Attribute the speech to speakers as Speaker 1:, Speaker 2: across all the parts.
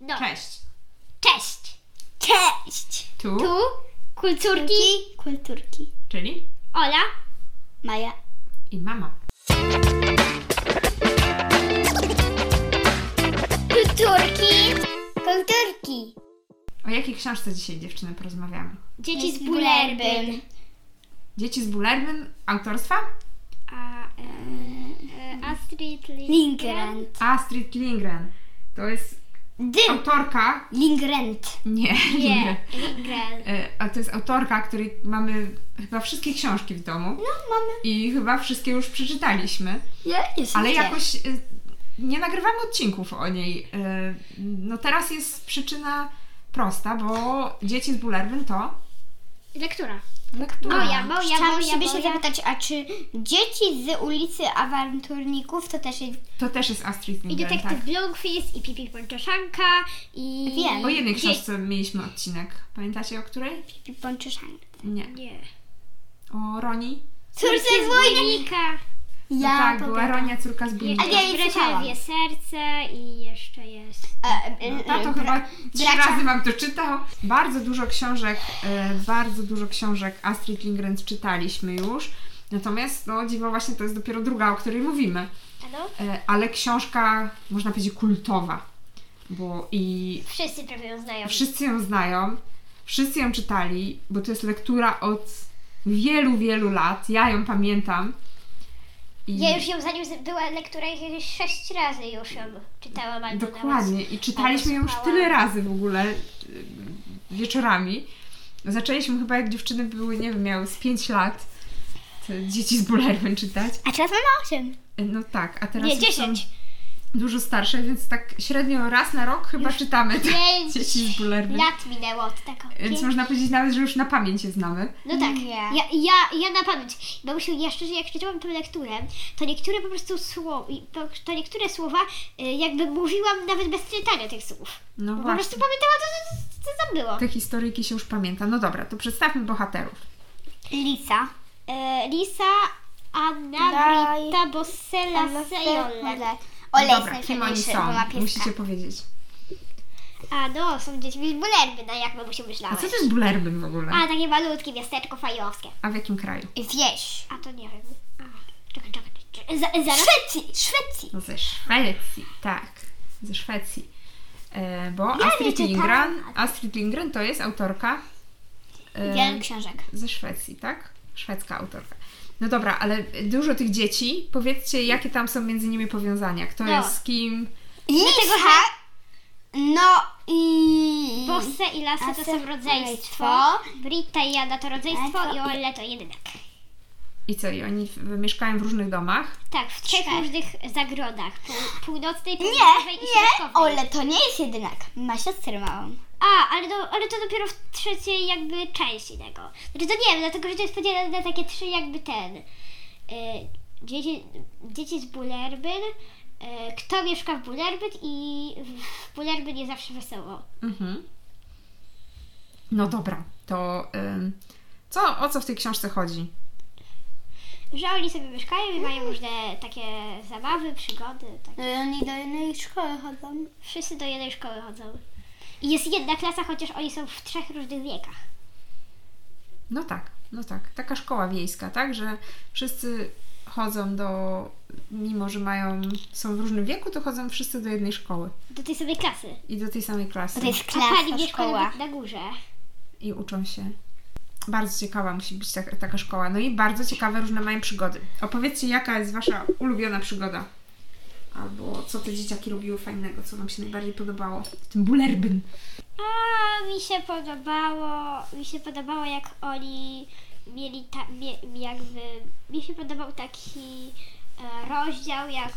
Speaker 1: No.
Speaker 2: Cześć.
Speaker 1: Cześć.
Speaker 3: Cześć!
Speaker 2: Tu,
Speaker 1: Tu kulturki
Speaker 3: Kulturki.
Speaker 2: czyli
Speaker 1: Ola.
Speaker 3: Maja.
Speaker 2: i mama.
Speaker 1: Kulturki.
Speaker 3: Kulturki.
Speaker 2: O jakiej książce dzisiaj dziewczyny porozmawiamy?
Speaker 1: Dzieci z Bulerbyn.
Speaker 2: Dzieci z Bulerbyn autorstwa
Speaker 1: A, e, e, Astrid
Speaker 3: Lindgren.
Speaker 2: Astrid Lindgren. To jest
Speaker 3: Dym.
Speaker 2: autorka.
Speaker 3: Lingrent.
Speaker 2: Nie,
Speaker 1: Nie,
Speaker 2: nie.
Speaker 1: Lindgren.
Speaker 2: E, A to jest autorka, której mamy chyba wszystkie książki w domu
Speaker 3: No, mamy.
Speaker 2: i chyba wszystkie już przeczytaliśmy,
Speaker 3: Ja jestem.
Speaker 2: ale jakoś e, nie nagrywamy odcinków o niej. E, No teraz jest przyczyna prosta, bo dzieci z Bulerbyn to
Speaker 1: Lektura.
Speaker 2: lektura.
Speaker 1: Moja, moja,
Speaker 3: Chciałam
Speaker 1: moja,
Speaker 3: sobie
Speaker 1: moja.
Speaker 3: się zapytać, a czy dzieci z ulicy Awanturników to też jest...
Speaker 2: To też jest Astrid
Speaker 1: I
Speaker 2: Lindgren, tak.
Speaker 1: detektyw Blomqvist, i Pipi Ponczaszanka, i...
Speaker 3: Wiem.
Speaker 2: O jednej
Speaker 1: Dzie-
Speaker 2: książce mieliśmy odcinek. Pamiętacie o której?
Speaker 3: Bączyszan.
Speaker 2: Nie.
Speaker 1: Nie.
Speaker 2: O Roni?
Speaker 3: Córce
Speaker 1: Córki z
Speaker 3: wojny!
Speaker 1: Wojnika.
Speaker 3: Ja
Speaker 2: No tak,
Speaker 3: po-
Speaker 2: była Ronia, córka z Billy.
Speaker 3: A ja jej czytałam.
Speaker 1: Bracia serce i jeszcze jest...
Speaker 3: E, e,
Speaker 2: Tato
Speaker 3: e,
Speaker 2: No chyba
Speaker 3: bra-
Speaker 2: trzy
Speaker 3: bracia-
Speaker 2: razy wam to czytał. Bardzo dużo książek, e, bardzo dużo książek Astrid Lindgren czytaliśmy już. Natomiast, no dziwo, właśnie to jest dopiero druga, o której mówimy.
Speaker 1: Ano?
Speaker 2: E, ale książka, można powiedzieć, kultowa. Bo i
Speaker 1: Wszyscy prawie ją znają.
Speaker 2: wszyscy ją znają, wszyscy ją czytali, bo to jest lektura od wielu, wielu lat. Ja ją pamiętam. I
Speaker 1: Ja już ją, zanim była lektura, jakieś sześć razy już ją czytałam. albo
Speaker 2: Dokładnie. I czytaliśmy ją już
Speaker 1: Tak, słuchałam.
Speaker 2: tyle razy w ogóle y, wieczorami. Zaczęliśmy chyba jak dziewczyny były, nie wiem, miały z 5 lat te dzieci z bulerwem czytać.
Speaker 3: A teraz mamy osiem.
Speaker 2: No tak, a teraz
Speaker 1: Nie,
Speaker 2: już są
Speaker 1: 10.
Speaker 2: dużo starsze, więc tak średnio raz na rok chyba czytamy te
Speaker 1: Nawet
Speaker 2: dzieci z bulerwem.
Speaker 1: Pięć lat minęło od tego.
Speaker 2: Więc
Speaker 1: Pięć-
Speaker 2: można powiedzieć nawet, że już na pamięć je znamy.
Speaker 1: No tak,
Speaker 3: Nie.
Speaker 1: ja, ja, ja na pamięć. Bo myślę, ja szczerze, jak czytałam tę lekturę, to niektóre po prostu słowa, to niektóre słowa y, jakby mówiłam nawet bez czytania tych słów.
Speaker 2: No
Speaker 1: Bo po
Speaker 2: właśnie.
Speaker 1: prostu pamiętałam, co, co, co tam było.
Speaker 2: Te historyjki się już pamięta. No dobra, to przedstawmy bohaterów.
Speaker 3: Lisa.
Speaker 1: E, Lisa, Anna,
Speaker 3: Daj.
Speaker 1: Brita, Bossela, Sejola.
Speaker 3: Olej jest
Speaker 2: No dobra, kim oni
Speaker 3: najfajniejszy,
Speaker 2: są?
Speaker 3: bo ma pieska.
Speaker 2: Musicie powiedzieć.
Speaker 1: A no, są dziećmi z bulerby, no jak bym się myślała.
Speaker 2: A co to jest bulerbyn w ogóle?
Speaker 1: A, takie malutkie miasteczko fajowskie.
Speaker 2: A w jakim kraju?
Speaker 3: Wieś.
Speaker 1: A to nie wiem. A, czekaj, czekaj. czekaj. Za,
Speaker 3: W
Speaker 1: zaraz.
Speaker 3: Szwecji. w Szwecji.
Speaker 2: No ze Szwecji, tak. Ze Szwecji. E, bo Astrid
Speaker 3: nie
Speaker 2: Lindgren, Astrid Lindgren to jest autorka e,
Speaker 3: Wiele książek.
Speaker 2: ze Szwecji, tak? Szwedzka autorka. No dobra, ale dużo tych dzieci. Powiedzcie, jakie tam są między nimi powiązania. Kto
Speaker 1: No.
Speaker 2: jest z kim?
Speaker 3: Lisa. No i...
Speaker 1: Bosse i Lasa to są
Speaker 3: Asy-
Speaker 1: rodzeństwo.
Speaker 3: rodzeństwo.
Speaker 1: Brita i Jada to rodzeństwo
Speaker 3: Rodzeństwo
Speaker 1: i
Speaker 3: i-
Speaker 1: Ole to jedynak.
Speaker 2: I co? I oni w, mieszkają w różnych domach.
Speaker 1: Tak, w trzech
Speaker 3: Trzech.
Speaker 1: różnych zagrodach. Pół, północnej,
Speaker 3: Nie,
Speaker 1: południowej i
Speaker 3: nie.
Speaker 1: środkowej.
Speaker 3: Ole to nie jest jedynak. Ma siostrę małą.
Speaker 1: A, ale to, ale to dopiero w trzeciej jakby części tego. Znaczy to nie wiem, dlatego że to jest podzielone na takie trzy jakby ten. Y, dzieci, dzieci z Bulerbyn, y, kto mieszka w Bulerbyn i w Bulerbyn jest zawsze wesoło.
Speaker 2: Mhm. No dobra, to ym, co, o co w tej książce chodzi?
Speaker 1: Że oni sobie mieszkają i
Speaker 3: Mm.
Speaker 1: mają różne takie zabawy, przygody. Tak.
Speaker 3: No i oni do jednej szkoły chodzą.
Speaker 1: Wszyscy do jednej szkoły chodzą. I jest jedna klasa, chociaż oni są w trzech różnych wiekach.
Speaker 2: No tak, no tak. Taka szkoła wiejska, tak? Że wszyscy chodzą do, mimo że mają, są w różnym wieku, to chodzą wszyscy do jednej szkoły
Speaker 1: Do tej samej klasy.
Speaker 2: i do tej samej klasy
Speaker 3: To jest
Speaker 1: A pani
Speaker 3: klasa,
Speaker 1: mieszka
Speaker 3: szkoła.
Speaker 1: nawet na górze.
Speaker 2: i uczą się. Bardzo ciekawa musi być ta, taka szkoła. No i bardzo ciekawe różne mają przygody. Opowiedzcie, jaka jest Wasza ulubiona przygoda? Albo co te dzieciaki robiły fajnego, co Wam się najbardziej podobało w tym bulerbyn.
Speaker 1: A mi się podobało, mi się podobało jak oni mieli ta, mie, jakby, mi się podobał taki e, rozdział, jak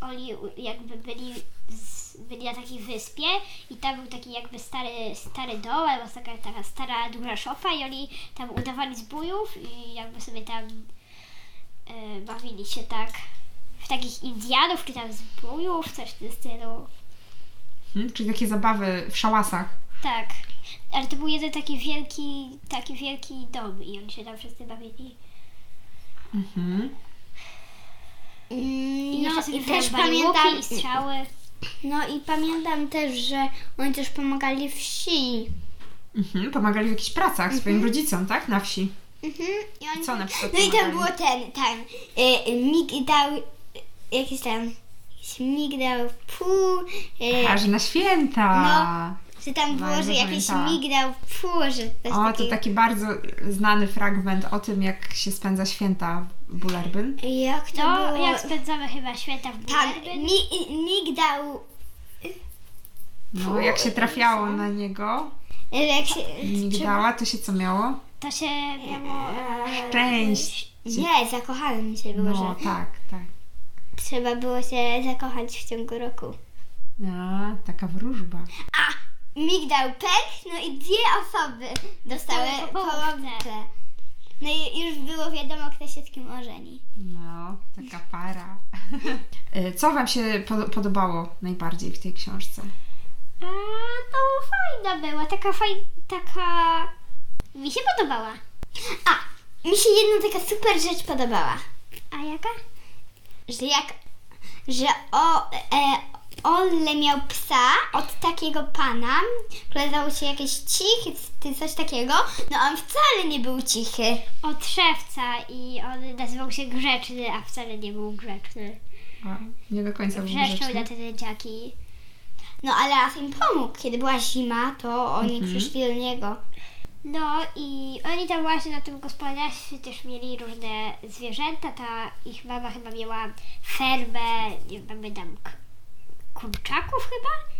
Speaker 1: oni u- jakby byli, z, byli na takiej wyspie i tam był taki jakby stary, stary dom, albo taka, taka stara duża szopa i oni tam udawali zbójów i jakby sobie tam e, bawili się tak w takich Indianów czy tam zbójów, coś w tym stylu.
Speaker 2: Hmm? Czyli takie zabawy w szałasach.
Speaker 1: Tak. Ale to był jeden taki wielki, taki wielki dom i oni się tam wszyscy bawili.
Speaker 2: Mhm.
Speaker 3: Mm,
Speaker 1: I
Speaker 3: no
Speaker 1: jeszcze sobie
Speaker 3: i też
Speaker 1: grali
Speaker 2: No,
Speaker 3: No, pamiętam...
Speaker 1: łuki i strzały.
Speaker 3: No i pamiętam też, że oni też pomagali wsi.
Speaker 2: Mhm, pomagali w jakichś pracach swoim rodzicom, tak? Na wsi.
Speaker 3: Mhm. I oni...
Speaker 2: Co na przykład
Speaker 3: No i tam
Speaker 2: pomagali?
Speaker 3: było ten, ten y, migdał, jakiś tam jakiś migdał pół, y,
Speaker 2: A, że na święta!
Speaker 3: No. że tam
Speaker 2: No,
Speaker 3: było,
Speaker 2: ja
Speaker 3: że
Speaker 2: nie
Speaker 3: jakiś
Speaker 2: pamiętałam.
Speaker 3: migdał pół, że coś
Speaker 2: O, to
Speaker 3: takiego.
Speaker 2: taki bardzo znany fragment o tym, jak się spędza święta w Bulerbyn.
Speaker 3: Jak to
Speaker 1: No,
Speaker 3: było? Tak,
Speaker 1: jak spędzamy chyba święta w
Speaker 3: Tam
Speaker 1: Bulerbyn.
Speaker 3: mi, migdał,
Speaker 2: No, jak się trafiało na niego,
Speaker 3: y, jak się...
Speaker 2: migdała, to się co miało?
Speaker 1: To się miało...
Speaker 2: Szczęść!
Speaker 3: Nie, e, zakochany mi się było,
Speaker 2: No,
Speaker 3: że
Speaker 2: tak, tak.
Speaker 3: trzeba było się zakochać w ciągu roku.
Speaker 2: A, No, taka wróżba.
Speaker 3: Migdał pęk, no i dwie osoby dostały
Speaker 1: Dostały po połówce.
Speaker 3: połowkę. No i już było wiadomo, kto się z kim ożeni.
Speaker 2: No, taka para. E, Co Wam się po- podobało najbardziej w tej książce?
Speaker 1: A, no fajna była, taka fajna, taka... Mi się podobała.
Speaker 3: Mi się jedna taka super rzecz podobała,
Speaker 1: A jaka?
Speaker 3: że jak, że o, e, Olle miał psa od takiego pana, który dał się jakiś cichy, czy coś takiego, no on wcale nie był cichy.
Speaker 1: Od szewca i on nazywał się Grzeczny, a wcale nie był grzeczny.
Speaker 2: A, nie do końca był
Speaker 1: Wrzeszczał na
Speaker 2: grzeczny.
Speaker 1: te dzieciaki.
Speaker 3: No ale raz im pomógł, kiedy była zima, to oni przyszli do niego.
Speaker 1: No i oni tam właśnie na tym gospodarstwie też mieli różne zwierzęta. Ta ich mama chyba miała fermę, nie wiem, mamy tam k- kurczaków chyba.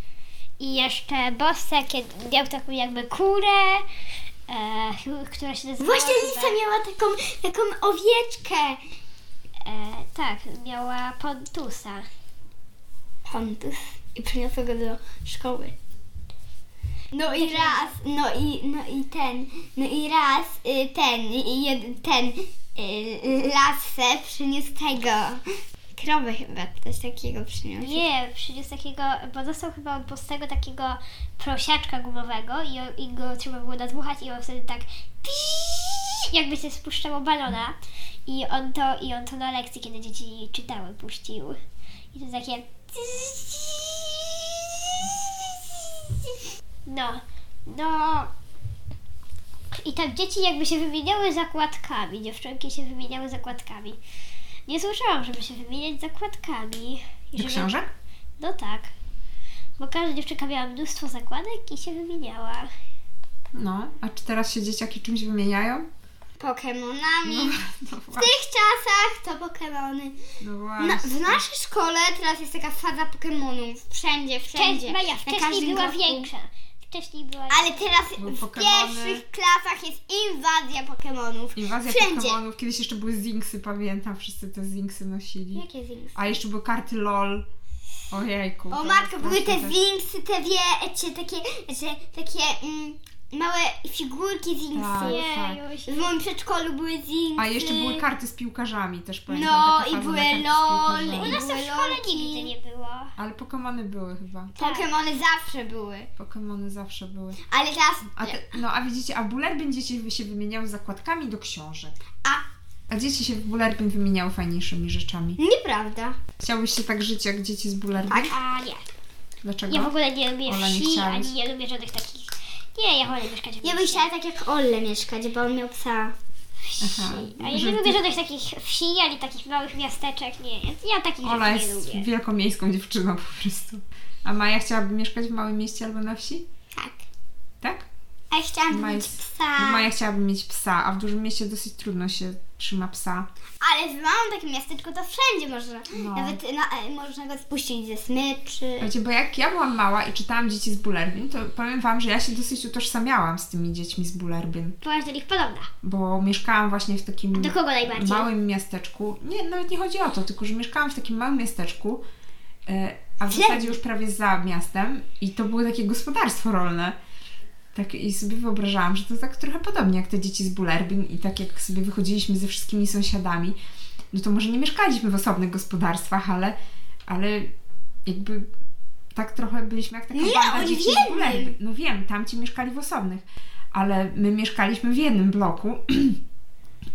Speaker 1: I jeszcze Bossa kiedy miał taką jakby kurę, e, która się nazywała...
Speaker 3: Właśnie
Speaker 1: chyba-
Speaker 3: Lisa miała taką, taką owieczkę.
Speaker 1: E, tak, miała Pontusa.
Speaker 3: Pontus i przyniosła go do szkoły. No i raz, no i, no i ten, no i raz y, ten, i jed, ten y, lasę przyniósł tego. Krowę chyba, coś takiego przyniósł.
Speaker 1: Nie, przyniósł takiego, bo dostał chyba od pustego takiego prosiaczka gumowego i, on- i go trzeba było nadmuchać i on wtedy tak pii, jakby się spuszczało balona i on to, i on to na lekcji, kiedy dzieci czytały, puścił. I to takie no, no i tam dzieci jakby się wymieniały zakładkami, dziewczynki się wymieniały zakładkami. Nie słyszałam, żeby się wymieniać zakładkami. I
Speaker 2: Do
Speaker 1: żeby-
Speaker 2: książek?
Speaker 1: no tak. Bo każda dziewczynka miała mnóstwo zakładek i się wymieniała.
Speaker 2: No, a czy teraz się dzieciaki czymś wymieniają?
Speaker 3: Pokemonami.
Speaker 2: No,
Speaker 3: W
Speaker 2: właśnie,
Speaker 3: tych czasach to Pokemony.
Speaker 2: no
Speaker 3: Na,
Speaker 2: właśnie.
Speaker 3: w naszej szkole teraz jest taka faza Pokemonów. Wszędzie, wszędzie.
Speaker 1: Wcześniej, Maja,
Speaker 3: Na
Speaker 1: wcześniej
Speaker 3: każdym
Speaker 1: była
Speaker 3: kroku.
Speaker 1: większa. Wcześniej była
Speaker 3: Ale teraz
Speaker 2: Były
Speaker 3: w
Speaker 2: Pokemony.
Speaker 3: pierwszych klasach jest inwazja Pokemonów.
Speaker 2: Inwazja
Speaker 3: wszędzie.
Speaker 2: Pokemonów. Kiedyś jeszcze były Zinksy, pamiętam. Wszyscy te Zinksy nosili.
Speaker 3: Jakie Zinksy?
Speaker 2: A jeszcze były karty LOL. Ojejku.
Speaker 3: O
Speaker 2: to
Speaker 3: matko, były te
Speaker 2: straszne
Speaker 3: Zinksy, te wiecie, takie, że, takie mm, małe figurki Zinksy.
Speaker 2: tak.
Speaker 1: Jejuś.
Speaker 3: W moim przedszkolu były Zinksy.
Speaker 2: A jeszcze były karty z piłkarzami też pamiętam.
Speaker 3: No
Speaker 2: taka
Speaker 3: i
Speaker 2: faza
Speaker 3: były
Speaker 2: na karty z
Speaker 3: LOL.
Speaker 2: piłkarzami.
Speaker 1: U nas to w
Speaker 3: były
Speaker 1: szkole
Speaker 3: lolki.
Speaker 1: nigdy nie było.
Speaker 2: Ale Pokemony były chyba.
Speaker 1: Tak.
Speaker 3: Pokemony zawsze były.
Speaker 2: Pokemony zawsze były.
Speaker 3: Ale teraz...
Speaker 2: A te, no a widzicie, a Bulerbyn dzieci się wymieniały zakładkami do książek.
Speaker 3: A-
Speaker 2: A dzieci się w Bulerbyn wymieniały fajniejszymi rzeczami.
Speaker 3: Nieprawda.
Speaker 2: Chciałbyś się tak żyć jak dzieci z Bulerbyn?
Speaker 3: Tak.
Speaker 1: A nie.
Speaker 2: Dlaczego?
Speaker 1: Ja w ogóle nie lubię
Speaker 2: Ola, nie
Speaker 1: wsi,
Speaker 2: chciałaś.
Speaker 1: ani nie lubię żadnych takich. Nie, ja wolę mieszkać w
Speaker 3: Ja bym
Speaker 1: mieście.
Speaker 3: chciała tak jak Olle mieszkać, bo on miał psa.
Speaker 1: wsi.
Speaker 2: Aha.
Speaker 1: A ja
Speaker 2: Że
Speaker 1: nie
Speaker 2: ty-
Speaker 1: lubię żadnych takich wsi, ani takich małych miasteczek. Nie, ja takich
Speaker 2: Ola
Speaker 1: rzeczy nie
Speaker 2: jest
Speaker 1: lubię.
Speaker 2: wielkomiejską dziewczyną po prostu. A Maja chciałaby mieszkać w małym mieście albo na wsi?
Speaker 3: Tak.
Speaker 2: Tak?
Speaker 3: A ja chciałam
Speaker 2: Ma
Speaker 3: mieć
Speaker 2: jest- Bo
Speaker 3: psa.
Speaker 2: Maja chciałaby mieć psa, a w dużym mieście dosyć trudno się trzyma psa.
Speaker 3: Ale w małym takim miasteczku to wszędzie można.
Speaker 2: No. E,
Speaker 3: Nawet na, e, można go spuścić ze smyczy.
Speaker 2: Wiecie, bo jak ja byłam mała i czytałam dzieci z Bulerbyn, to powiem Wam, że ja się dosyć utożsamiałam z tymi dziećmi z Bulerbyn,
Speaker 1: Byłaś do nich podobna.
Speaker 2: bo mieszkałam właśnie w takim
Speaker 1: Do kogo najbardziej?
Speaker 2: małym miasteczku. Nie, nawet nie chodzi o to, tylko że mieszkałam w takim małym miasteczku, e, a w
Speaker 3: Gdzie?
Speaker 2: zasadzie już prawie za miastem i to było takie gospodarstwo rolne. Tak, I sobie wyobrażałam, że to tak trochę podobnie jak te dzieci z Bulerbyn i tak jak sobie wychodziliśmy ze wszystkimi sąsiadami, no to może nie mieszkaliśmy w osobnych gospodarstwach, ale, ale jakby tak trochę byliśmy jak taka
Speaker 3: Nie,
Speaker 2: banda
Speaker 3: oni
Speaker 2: dzieci
Speaker 3: w
Speaker 2: z Bulerbyn. No wiem, tamci mieszkali w osobnych, ale my mieszkaliśmy w jednym bloku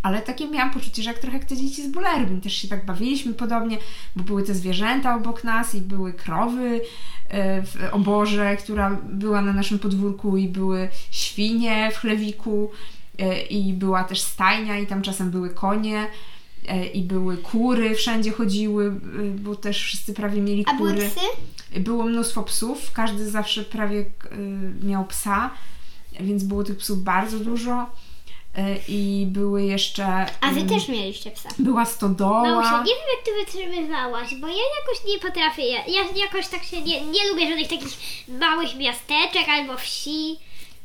Speaker 2: Ale takie miałam poczucie, że jak trochę jak te dzieci z bulerbin, też się tak bawiliśmy podobnie, bo były te zwierzęta obok nas i były krowy e, w oborze, która była na naszym podwórku i były świnie w chlewiku e, i była też stajnia i tam czasem były konie e, i były kury, wszędzie chodziły, e, bo też wszyscy prawie mieli
Speaker 3: A
Speaker 2: kury.
Speaker 3: były psy?
Speaker 2: Było mnóstwo psów, każdy zawsze prawie y, miał psa, więc było tych psów bardzo dużo. Y, I były jeszcze.
Speaker 3: A wy
Speaker 2: y,
Speaker 3: też mieliście psa.
Speaker 2: Była
Speaker 1: Małusia,
Speaker 2: stodoła.
Speaker 1: nie wiem jak ty wytrzymywałaś, bo ja jakoś nie potrafię, ja, ja jakoś tak się nie, nie lubię żadnych takich małych miasteczek albo wsi.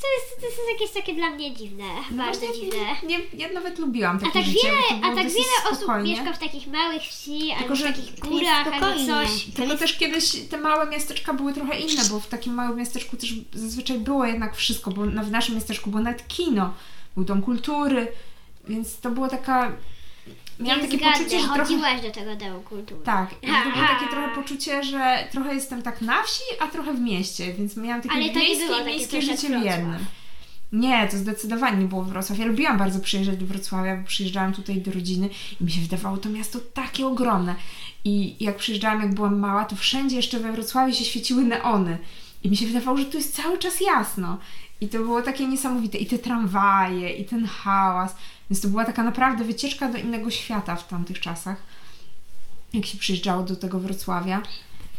Speaker 1: To jest, to jest jakieś takie dla mnie dziwne, bardzo
Speaker 2: No Właśnie
Speaker 1: dziwne.
Speaker 2: Nie, ja nawet lubiłam takie
Speaker 1: A tak
Speaker 2: życie,
Speaker 1: wiele,
Speaker 2: bo to było
Speaker 1: a tak
Speaker 2: dosyć
Speaker 1: wiele osób
Speaker 2: spokojnie.
Speaker 1: mieszka w takich małych wsi, albo
Speaker 2: że
Speaker 1: w takich
Speaker 3: to jest
Speaker 1: górach, albo
Speaker 3: spokojnie.
Speaker 1: coś.
Speaker 3: To
Speaker 2: Tylko
Speaker 3: jest-
Speaker 2: też kiedyś te małe miasteczka były trochę inne, bo w takim małym miasteczku też zazwyczaj było jednak wszystko, bo na- w naszym miasteczku było nawet kino, był dom kultury, więc to było taka... Miałam
Speaker 1: Nie
Speaker 2: takie
Speaker 1: zgadnę,
Speaker 2: poczucie, że trochę...
Speaker 1: chodziłaś do tego domu kultury.
Speaker 2: Tak, i to było
Speaker 1: Aha.
Speaker 2: takie trochę poczucie, że trochę jestem tak na wsi, a trochę w mieście, więc miałam takie
Speaker 1: Ale to nie
Speaker 2: wiejskie
Speaker 1: było
Speaker 2: i
Speaker 1: takie
Speaker 2: miejskie
Speaker 1: trochę
Speaker 2: życie w
Speaker 1: Wrocław.
Speaker 2: jednym. Nie, to zdecydowanie nie było Wrocław. Ja lubiłam bardzo przyjeżdżać do Wrocławia, bo przyjeżdżałam tutaj do rodziny i mi się wydawało to miasto takie ogromne. I jak przyjeżdżałam, jak byłam mała, to wszędzie jeszcze we Wrocławiu się świeciły neony. I mi się wydawało, że tu jest cały czas jasno. I to było takie niesamowite. I te tramwaje, i ten hałas. Więc to była taka naprawdę wycieczka do innego świata w tamtych czasach jak się przyjeżdżało do tego Wrocławia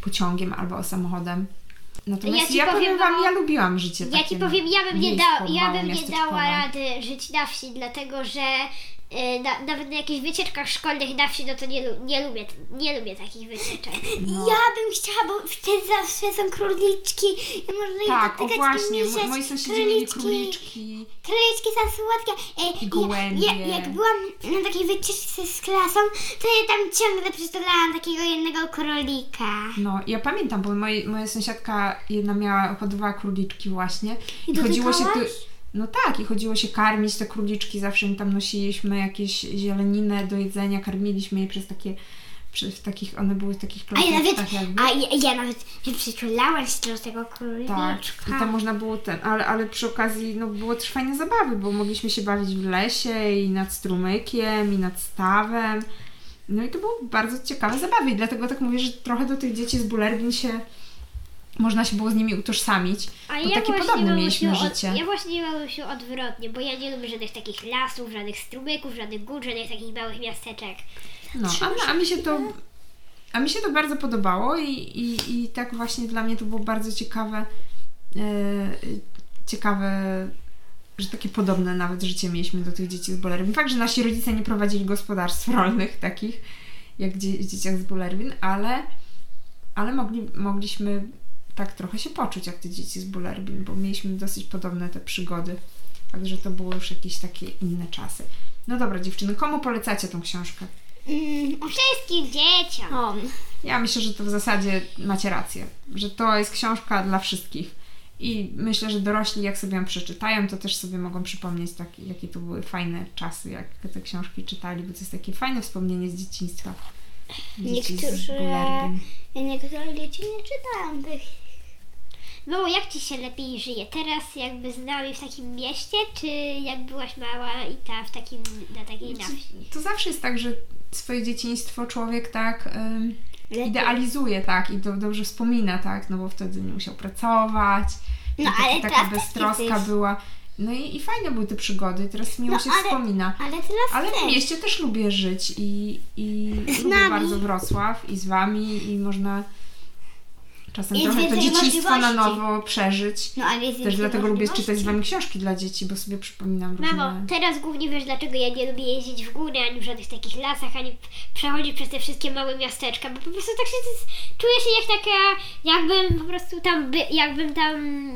Speaker 2: pociągiem albo samochodem.
Speaker 1: Ja
Speaker 2: Natomiast
Speaker 1: ci
Speaker 2: ja, powiem,
Speaker 1: powiem,
Speaker 2: Wam,
Speaker 1: no,
Speaker 2: ja lubiłam życie
Speaker 1: Ja
Speaker 2: takie.
Speaker 1: ci
Speaker 2: no,
Speaker 1: powiem, ja bym nie,
Speaker 2: miejsko,
Speaker 1: dał, ja bym nie
Speaker 2: małomiasteczkowe.
Speaker 1: dała rady żyć na wsi, dlatego że y, na, nawet na jakichś wycieczkach szkolnych na wsi, no to nie, lu- nie, lubię, nie lubię takich wycieczek.
Speaker 2: No.
Speaker 3: Ja bym chciała, bo wtedy zawsze są króliczki i można je
Speaker 2: Tak, o
Speaker 3: dotykać
Speaker 2: właśnie,
Speaker 3: i
Speaker 2: mo-
Speaker 3: mieszać.
Speaker 2: moi sąsiedzi mieli króliczki.
Speaker 3: Króliczki są słodkie.
Speaker 2: I
Speaker 3: E,
Speaker 2: gołębie.
Speaker 3: Ja, ja, jak byłam na takiej wycieczce z klasą, to ja tam ciągle przytulałam takiego jednego królika.
Speaker 2: No, ja pamiętam, bo moje, moja sąsiadka jedna miała, hodowała króliczki właśnie.
Speaker 3: I
Speaker 2: się
Speaker 3: dotykałaś?
Speaker 2: No tak, i chodziło się karmić te króliczki, zawsze im tam nosiliśmy jakieś zieleninę do jedzenia, karmiliśmy je przez takie, przy, w takich, one były w takich
Speaker 3: A ja
Speaker 2: plasticzkach
Speaker 3: nawet,
Speaker 2: jakby.
Speaker 3: a ja, ja nawet przytulałam się do tego króliczka.
Speaker 2: Tak, i tam można było ten, ale, ale przy okazji no, było też fajne zabawy, bo mogliśmy się bawić w lesie i nad strumykiem, i nad stawem. No i to było bardzo ciekawe zabawy i dlatego tak mówię, że trochę do tych dzieci z Bulerbin się, można się było z nimi utożsamić,
Speaker 1: A
Speaker 2: bo
Speaker 1: ja
Speaker 2: takie
Speaker 1: właśnie
Speaker 2: podobne
Speaker 1: mam
Speaker 2: mieliśmy
Speaker 1: się od-
Speaker 2: życie.
Speaker 1: Ja właśnie mam się odwrotnie, bo ja nie lubię żadnych takich lasów, żadnych strumyków, żadnych gór, żadnych takich małych miasteczek.
Speaker 2: No, a, a mi się to... A mi się to bardzo podobało i, i, i tak właśnie dla mnie to było bardzo ciekawe, e, ciekawe, że takie podobne nawet życie mieliśmy do tych dzieci z Bulerwin. Fakt, że nasi rodzice nie prowadzili gospodarstw rolnych takich, jak dzie- w dzieciach z Bulerwin, ale, ale mogli, mogliśmy tak trochę się poczuć jak te dzieci z Bulerwin, bo mieliśmy dosyć podobne te przygody. Także to były już jakieś takie inne czasy. No dobra, dziewczyny, komu polecacie tą książkę?
Speaker 3: Mm,
Speaker 1: Wszystkim dzieciom.
Speaker 3: o,
Speaker 2: Ja myślę, że to w zasadzie macie rację, że to jest książka dla wszystkich. I myślę, że dorośli, jak sobie ją przeczytają, to też sobie mogą przypomnieć, tak, jakie to były fajne czasy, jak te książki czytali, bo to jest takie fajne wspomnienie z dzieciństwa. Dzieci z
Speaker 3: Niektórzy-
Speaker 2: Bulerbyn.
Speaker 3: niektóre dzieci nie czytają tych.
Speaker 1: Mało, No, jak Ci się lepiej żyje teraz, jakby z nami w takim mieście, czy jak byłaś mała i ta w takim, na takiej
Speaker 3: Znaczy,
Speaker 1: na wsi?
Speaker 2: To zawsze jest tak, że swoje dzieciństwo człowiek tak ym, idealizuje, tak, i do, dobrze wspomina, tak, no bo wtedy nie musiał pracować,
Speaker 3: No,
Speaker 2: i
Speaker 3: ale
Speaker 2: taka
Speaker 3: teraz też
Speaker 2: beztroska
Speaker 3: jesteś.
Speaker 2: była. No i, i fajne były te przygody, teraz miło
Speaker 3: No,
Speaker 2: się
Speaker 3: ale-
Speaker 2: wspomina.
Speaker 3: Ale teraz
Speaker 2: Ale w
Speaker 3: też.
Speaker 2: mieście też lubię żyć i, i
Speaker 3: Z
Speaker 2: lubię
Speaker 3: nami.
Speaker 2: bardzo Wrocław i z wami i można czasem
Speaker 3: Jest
Speaker 2: trochę to
Speaker 3: więcej
Speaker 2: dzieciństwo na
Speaker 3: możliwości.
Speaker 2: nowo przeżyć.
Speaker 3: No, ale
Speaker 2: Też
Speaker 3: jest więcej
Speaker 2: dlatego lubię
Speaker 3: możliwości.
Speaker 2: czytać z wami książki dla dzieci, bo sobie przypominam
Speaker 1: Mamo,
Speaker 2: różne...
Speaker 1: teraz głównie wiesz, dlaczego ja nie lubię jeździć w góry, ani w żadnych takich lasach, ani p- przechodzić przez te wszystkie małe miasteczka, bo po prostu tak się z- czuję się jak taka, jakbym po prostu tam, by, jakbym tam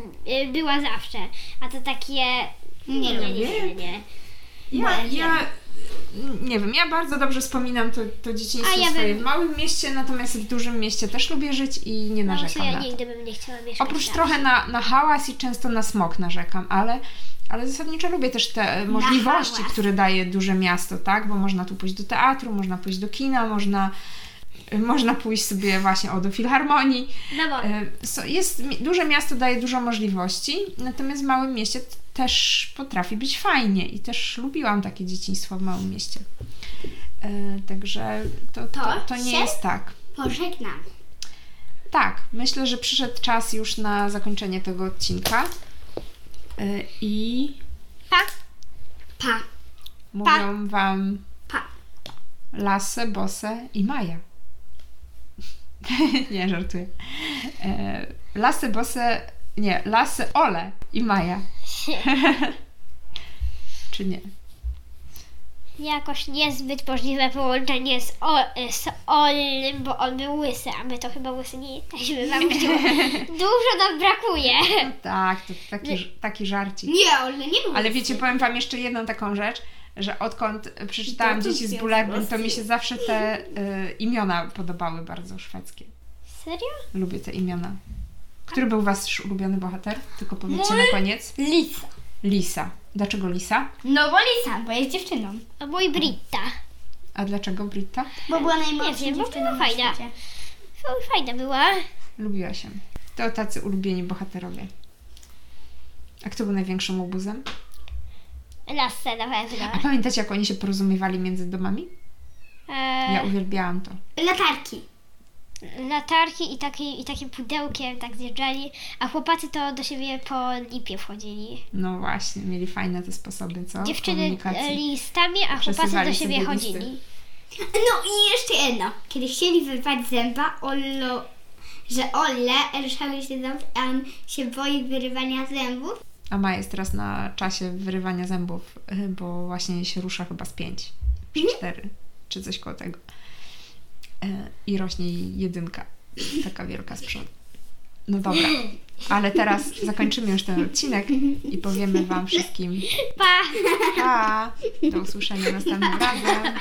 Speaker 1: y, była zawsze, a to takie... Nie, nie, nie, nie, nie.
Speaker 2: Ja, ja nie wiem, ja bardzo dobrze wspominam to, to
Speaker 1: A
Speaker 2: dzieciństwo
Speaker 1: ja
Speaker 2: swoje
Speaker 1: bym-
Speaker 2: w małym mieście, natomiast w dużym mieście też lubię żyć i nie
Speaker 1: No,
Speaker 2: narzekam
Speaker 1: co ja
Speaker 2: na to.
Speaker 1: nigdy bym nie chciała mieszkać
Speaker 2: Oprócz
Speaker 1: tam.
Speaker 2: trochę na, na hałas i często na smog narzekam, ale, ale zasadniczo lubię też te e, możliwości,
Speaker 1: hałas.
Speaker 2: które daje duże miasto, tak? Bo można tu pójść do teatru, można pójść do kina, można y, można pójść sobie właśnie o do filharmonii.
Speaker 1: Na wolno.
Speaker 2: Y, so- Jest, mi- duże miasto daje dużo możliwości, natomiast w małym mieście t- też potrafi być fajnie i też lubiłam takie dzieciństwo w małym mieście. Y, Także to, to,
Speaker 1: To
Speaker 2: to nie
Speaker 1: się-
Speaker 2: jest tak.
Speaker 1: Pożegnam.
Speaker 2: Tak, myślę, że przyszedł czas już na zakończenie tego odcinka. Y, I
Speaker 1: Pa. Pa.
Speaker 2: mówią Wam
Speaker 1: Pa.
Speaker 2: Lasę, Bosę i Maja. nie, żartuję. E, Lasy, Bosę, nie, Lasy, Ole i Maja. Czy nie?
Speaker 1: Jakoś niezbyt możliwe połączenie z, o, z Ollym, bo on był łysy, a my to chyba łysy nie jesteśmy. Wam dużo nam brakuje.
Speaker 2: No tak, to taki, ż- taki żarcik.
Speaker 3: Nie, Ole, nie był.
Speaker 2: Ale wiecie, powiem Wam jeszcze jedną taką rzecz, że odkąd przeczytałam
Speaker 3: To tu
Speaker 2: Dzieci z
Speaker 3: jest
Speaker 2: Bularbem, to
Speaker 3: właśnie.
Speaker 2: mi się zawsze te y, imiona podobały bardzo szwedzkie.
Speaker 1: Serio?
Speaker 2: Lubię te imiona. Który był Wasz ulubiony bohater? Tylko powiedzcie na koniec.
Speaker 3: Lisa.
Speaker 2: Lisa. Dlaczego Lisa?
Speaker 3: No bo Lisa, bo jest dziewczyną.
Speaker 1: A mój Britta.
Speaker 2: A dlaczego Britta?
Speaker 3: Bo była najmłodsza
Speaker 1: wiem, bo
Speaker 3: dziewczyną
Speaker 1: była
Speaker 3: na
Speaker 1: fajna.
Speaker 3: świecie.
Speaker 1: F- Fajna była.
Speaker 2: Lubiła się. To tacy ulubieni bohaterowie. A kto był największym obuzem?
Speaker 1: Lasę na
Speaker 2: A
Speaker 1: pewno.
Speaker 2: pamiętacie, jak oni się porozumiewali między domami? Ja
Speaker 1: E,
Speaker 2: uwielbiałam to.
Speaker 3: Latarki.
Speaker 1: latarki i, taki, i takim pudełkiem tak zjeżdżali, a chłopacy to do siebie po lipie wchodzili.
Speaker 2: No właśnie, mieli fajne te sposoby, co?
Speaker 1: Dziewczyny e,
Speaker 2: No, Komunikacji.
Speaker 1: listami, a chłopacy do
Speaker 2: Przesuwali
Speaker 1: siebie
Speaker 2: sobie listy.
Speaker 1: chodzili.
Speaker 3: No i jeszcze jedno. Kiedy chcieli wyrwać zęba, Ollo, że Olle ruszały się ząb, a on się boi wyrywania zębów.
Speaker 2: A Maja jest teraz na czasie wyrywania zębów, y, bo właśnie się rusza chyba z pięć, czy cztery, czy coś koło tego. E, I rośnie jej jedynka, taka wielka z przodu. No dobra, ale teraz zakończymy już ten odcinek i powiemy Wam wszystkim
Speaker 1: Pa!
Speaker 2: pa! Do usłyszenia następnym razem.